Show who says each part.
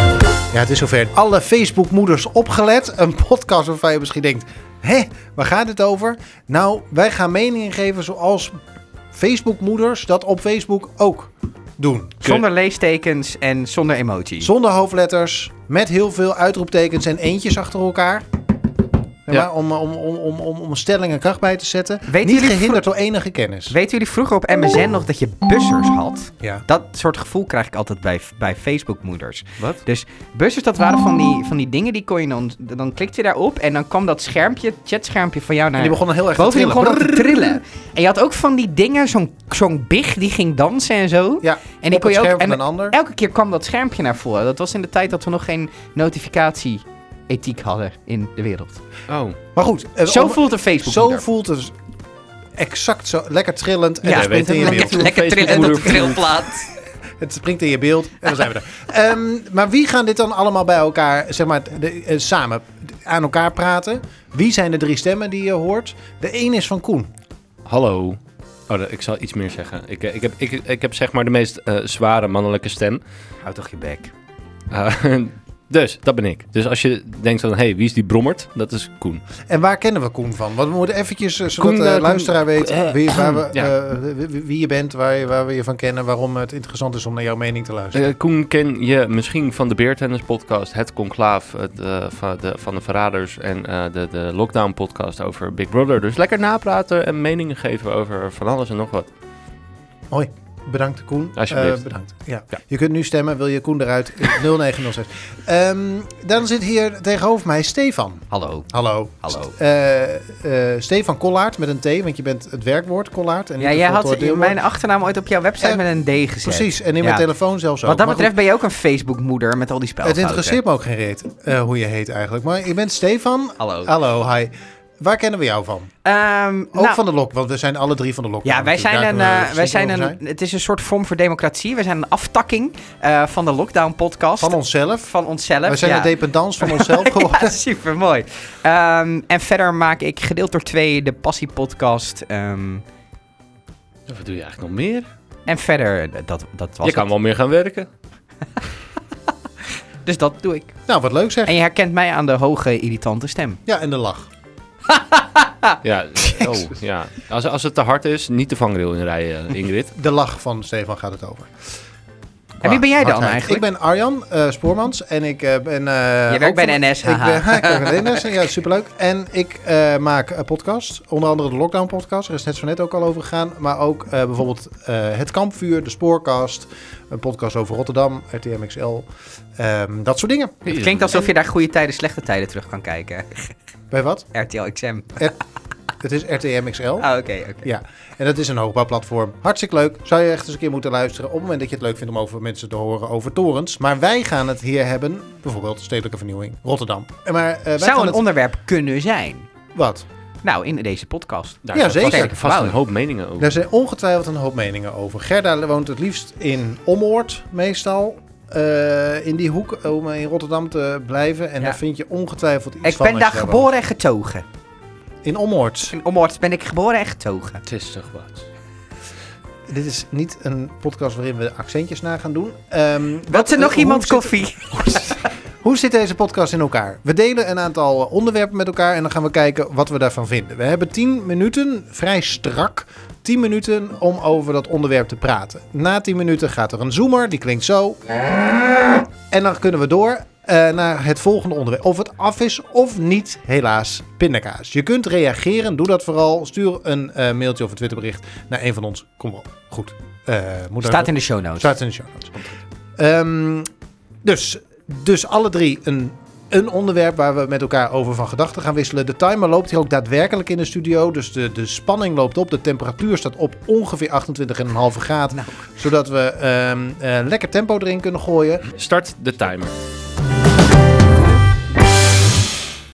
Speaker 1: het is zover. Alle Facebookmoeders opgelet. Een podcast waarvan je misschien denkt: hé, waar gaat het over? Nou, wij gaan meningen geven zoals Facebookmoeders dat op Facebook ook doen.
Speaker 2: Zonder leestekens en zonder emotie.
Speaker 1: Zonder hoofdletters, met heel veel uitroeptekens en eentjes achter elkaar. Zeg
Speaker 3: Ja.
Speaker 1: maar, om, om, om, om, om, om stellingen kracht bij te zetten.
Speaker 2: Weten
Speaker 1: Niet
Speaker 2: jullie
Speaker 1: gehinderd door enige kennis.
Speaker 2: Weten jullie vroeger op MSN nog dat je bussers had?
Speaker 1: Ja.
Speaker 2: Dat soort gevoel krijg ik altijd bij, bij Facebook-moeders.
Speaker 3: Wat?
Speaker 2: Dus bussers, dat waren van die, van die dingen die kon je dan... Dan klikte je daarop en dan kwam dat schermpje, chatschermpje van jou
Speaker 1: En
Speaker 2: naar...
Speaker 1: die begonnen heel erg te
Speaker 2: Boven die
Speaker 1: trillen.
Speaker 2: begon dat te trillen. En je had ook van die dingen, zo'n zo'n big die ging dansen en zo.
Speaker 1: Ja,
Speaker 2: en
Speaker 1: op
Speaker 2: die
Speaker 1: het
Speaker 2: kon je
Speaker 1: scherm
Speaker 2: ook...
Speaker 1: van een
Speaker 2: En
Speaker 1: ander.
Speaker 2: elke keer kwam dat schermpje naar voren. Dat was in de tijd dat we nog geen notificatie-ethiek hadden in de wereld.
Speaker 3: Oh.
Speaker 1: Maar goed, eh,
Speaker 2: Zo
Speaker 1: om-
Speaker 2: voelt een
Speaker 1: zo
Speaker 2: Facebook-moeder.
Speaker 1: voelt het exact zo. Lekker trillend. En
Speaker 2: Ja,
Speaker 1: het
Speaker 3: wij
Speaker 1: springt in je
Speaker 3: weten
Speaker 1: beeld.
Speaker 3: hoe
Speaker 2: Lekker
Speaker 3: een
Speaker 2: trillen, dat
Speaker 3: Facebookmoeder voelt.
Speaker 2: trilplaat.
Speaker 1: Het springt in je beeld. En dan zijn we er. Ehm, maar wie gaan dit dan allemaal bij elkaar, zeg maar, de- eh, samen aan elkaar praten? Wie zijn de drie stemmen die je hoort? De een is van Koen.
Speaker 3: Hallo. Oh, dat- ik zal iets meer zeggen. Ik, eh, ik, heb, ik, ik heb zeg maar de meest eh, zware mannelijke stem.
Speaker 2: Houd toch je bek.
Speaker 3: Eh, dus, dat ben ik. Dus als je denkt van, hé, hey, wie is die brommert? Dat is Koen.
Speaker 1: En waar kennen we Koen van? Want we moeten eventjes, eh,
Speaker 3: Koen,
Speaker 1: zodat
Speaker 3: eh,
Speaker 1: de
Speaker 3: Koen-
Speaker 1: luisteraar weet
Speaker 3: eh,
Speaker 1: wie, waar we,
Speaker 3: ja.
Speaker 1: eh, wie- wie je bent, waar, je- waar we je van kennen, waarom het interessant is om naar jouw mening te luisteren.
Speaker 3: Eh, Koen ken je misschien van de Beertennis podcast, het Conclaaf het, eh, van, de, van de Verraders en eh, de, de Lockdown podcast over Big Brother. Dus lekker napraten en meningen geven over van alles en nog wat.
Speaker 1: Bedankt Koen.
Speaker 3: Alsjeblieft.
Speaker 1: Eh, bedankt. Ja.
Speaker 3: Ja.
Speaker 1: Je kunt nu stemmen, wil je Koen eruit? 0906. Ehm, dan zit hier tegenover mij Stefan.
Speaker 2: Hallo.
Speaker 1: Hallo.
Speaker 2: Hallo.
Speaker 1: Eh, eh, Stefan Kollaert met een T, want je bent het werkwoord Kollaert. En niet
Speaker 2: Ja,
Speaker 1: het
Speaker 2: jij had
Speaker 1: voltooid deelwoord.
Speaker 2: mijn achternaam ooit op jouw website
Speaker 1: Eh,
Speaker 2: met een D gezet.
Speaker 1: Precies, en in
Speaker 2: Ja.
Speaker 1: mijn telefoon zelfs ook.
Speaker 2: Wat dat
Speaker 1: Maar
Speaker 2: betreft ben je ook een Facebook-moeder met al die
Speaker 1: goed, het
Speaker 2: spelfouten.
Speaker 1: interesseert me ook geen reet eh, hoe je heet eigenlijk. Maar je bent Stefan.
Speaker 2: Hallo.
Speaker 1: Hallo, hi. Waar kennen we jou van?
Speaker 2: Ehm,
Speaker 1: Ehm, Ook
Speaker 2: nou,
Speaker 1: van de lok, want we zijn alle drie van de lok.
Speaker 2: ja, wij zijn een, eh, wij zijn een,
Speaker 1: Van
Speaker 2: het is een soort vorm voor democratie. Wij zijn een aftakking eh, van de lockdown-podcast.
Speaker 1: onszelf.
Speaker 2: Van onszelf.
Speaker 1: Wij zijn
Speaker 2: ja.
Speaker 1: een dependance van onszelf geworden.
Speaker 2: Ja, supermooi. Ehm, en verder maak ik gedeeld door twee de Passie-podcast. ehm,
Speaker 3: Wat doe je eigenlijk nog meer?
Speaker 2: en verder, eh, dat, dat was
Speaker 3: je kan
Speaker 2: het.
Speaker 3: wel meer gaan werken.
Speaker 2: Dus dat doe ik.
Speaker 1: Nou, wat leuk zeg.
Speaker 2: En je herkent mij aan de hoge, irritante stem.
Speaker 1: Ja, en de lach.
Speaker 3: Ja, oh, ja. Als, als het te hard is, niet de vangrail in rijden, Ingrid.
Speaker 1: De lach van Stefan gaat het over.
Speaker 2: en wie ben jij dan
Speaker 1: Hardheid.
Speaker 2: eigenlijk?
Speaker 1: Ik ben Arjan eh, Spoormans en ik eh, ben... eh
Speaker 2: werkt
Speaker 1: ook
Speaker 2: bij de
Speaker 1: van-
Speaker 2: NS,
Speaker 1: Ik ben,
Speaker 2: haha.
Speaker 1: ik werk bij de NS, ja, superleuk. En ik eh, maak eh, podcasts, onder andere de Lockdown podcast, daar is net zo net ook al over gegaan. Maar ook eh, bijvoorbeeld eh, Het Kampvuur, de Spoorcast, een podcast over Rotterdam, RTMXL, ehm, dat soort dingen.
Speaker 2: Het klinkt alsof je daar goede tijden, slechte tijden terug kan kijken.
Speaker 1: Bij wat?
Speaker 2: RTL XM.
Speaker 1: Het is RTMXL.
Speaker 2: Ah, oké, oké.
Speaker 1: Ja, en dat is een hoogbouwplatform. Hartstikke leuk. Zou je echt eens een keer moeten luisteren. Op het moment dat je het leuk vindt om over mensen te horen over torens. Maar wij gaan het hier hebben. Bijvoorbeeld stedelijke vernieuwing, Rotterdam. En Maar eh, wij
Speaker 2: Zou
Speaker 1: gaan
Speaker 2: een
Speaker 1: het...
Speaker 2: onderwerp kunnen zijn?
Speaker 1: Wat?
Speaker 2: Nou, in deze podcast.
Speaker 3: Daar
Speaker 1: Ja,
Speaker 3: zijn vast-
Speaker 1: zeker.
Speaker 3: vast
Speaker 2: Wauw.
Speaker 3: een hoop meningen over.
Speaker 1: Daar zijn ongetwijfeld een hoop meningen over. Gerda woont het liefst in Ommoord, meestal. eh, in die hoek, om in Rotterdam te blijven. En
Speaker 2: Ja.
Speaker 1: daar vind je ongetwijfeld iets
Speaker 2: Ik
Speaker 1: van.
Speaker 2: ben
Speaker 1: als
Speaker 2: daar
Speaker 1: je
Speaker 2: geboren en getogen.
Speaker 1: woont. In Ommoord.
Speaker 2: In Ommoord ben ik geboren en getogen.
Speaker 3: Het is toch wat.
Speaker 1: Dit is niet een podcast waarin we accentjes na gaan doen. Ehm,
Speaker 2: Wat er
Speaker 1: eh,
Speaker 2: nog
Speaker 1: hoe
Speaker 2: iemand
Speaker 1: zit-
Speaker 2: koffie?
Speaker 1: Hoe zit deze podcast in elkaar? We delen een aantal eh, onderwerpen met elkaar en dan gaan we kijken wat we daarvan vinden. We hebben 10 minuten, vrij strak, 10 minuten om over dat onderwerp te praten. Na 10 minuten gaat er een zoomer, die klinkt zo. En dan kunnen we door eh, naar het volgende onderwerp. Of het af is of niet, helaas, pindakaas. Je kunt reageren, doe dat vooral. Stuur een eh, mailtje of een Twitterbericht naar een van ons. Kom wel, goed. Eh, moet daar-
Speaker 2: Staat in de show notes.
Speaker 1: Staat in de show notes. Ehm, dus, dus alle drie een, een onderwerp waar we met elkaar over van gedachten gaan wisselen. De timer loopt hier ook daadwerkelijk in de studio. Dus de, de spanning loopt op. De temperatuur staat op ongeveer 28,5 graden.
Speaker 2: Nou.
Speaker 1: Zodat we ehm, eh, lekker tempo erin kunnen gooien.
Speaker 3: Start de timer.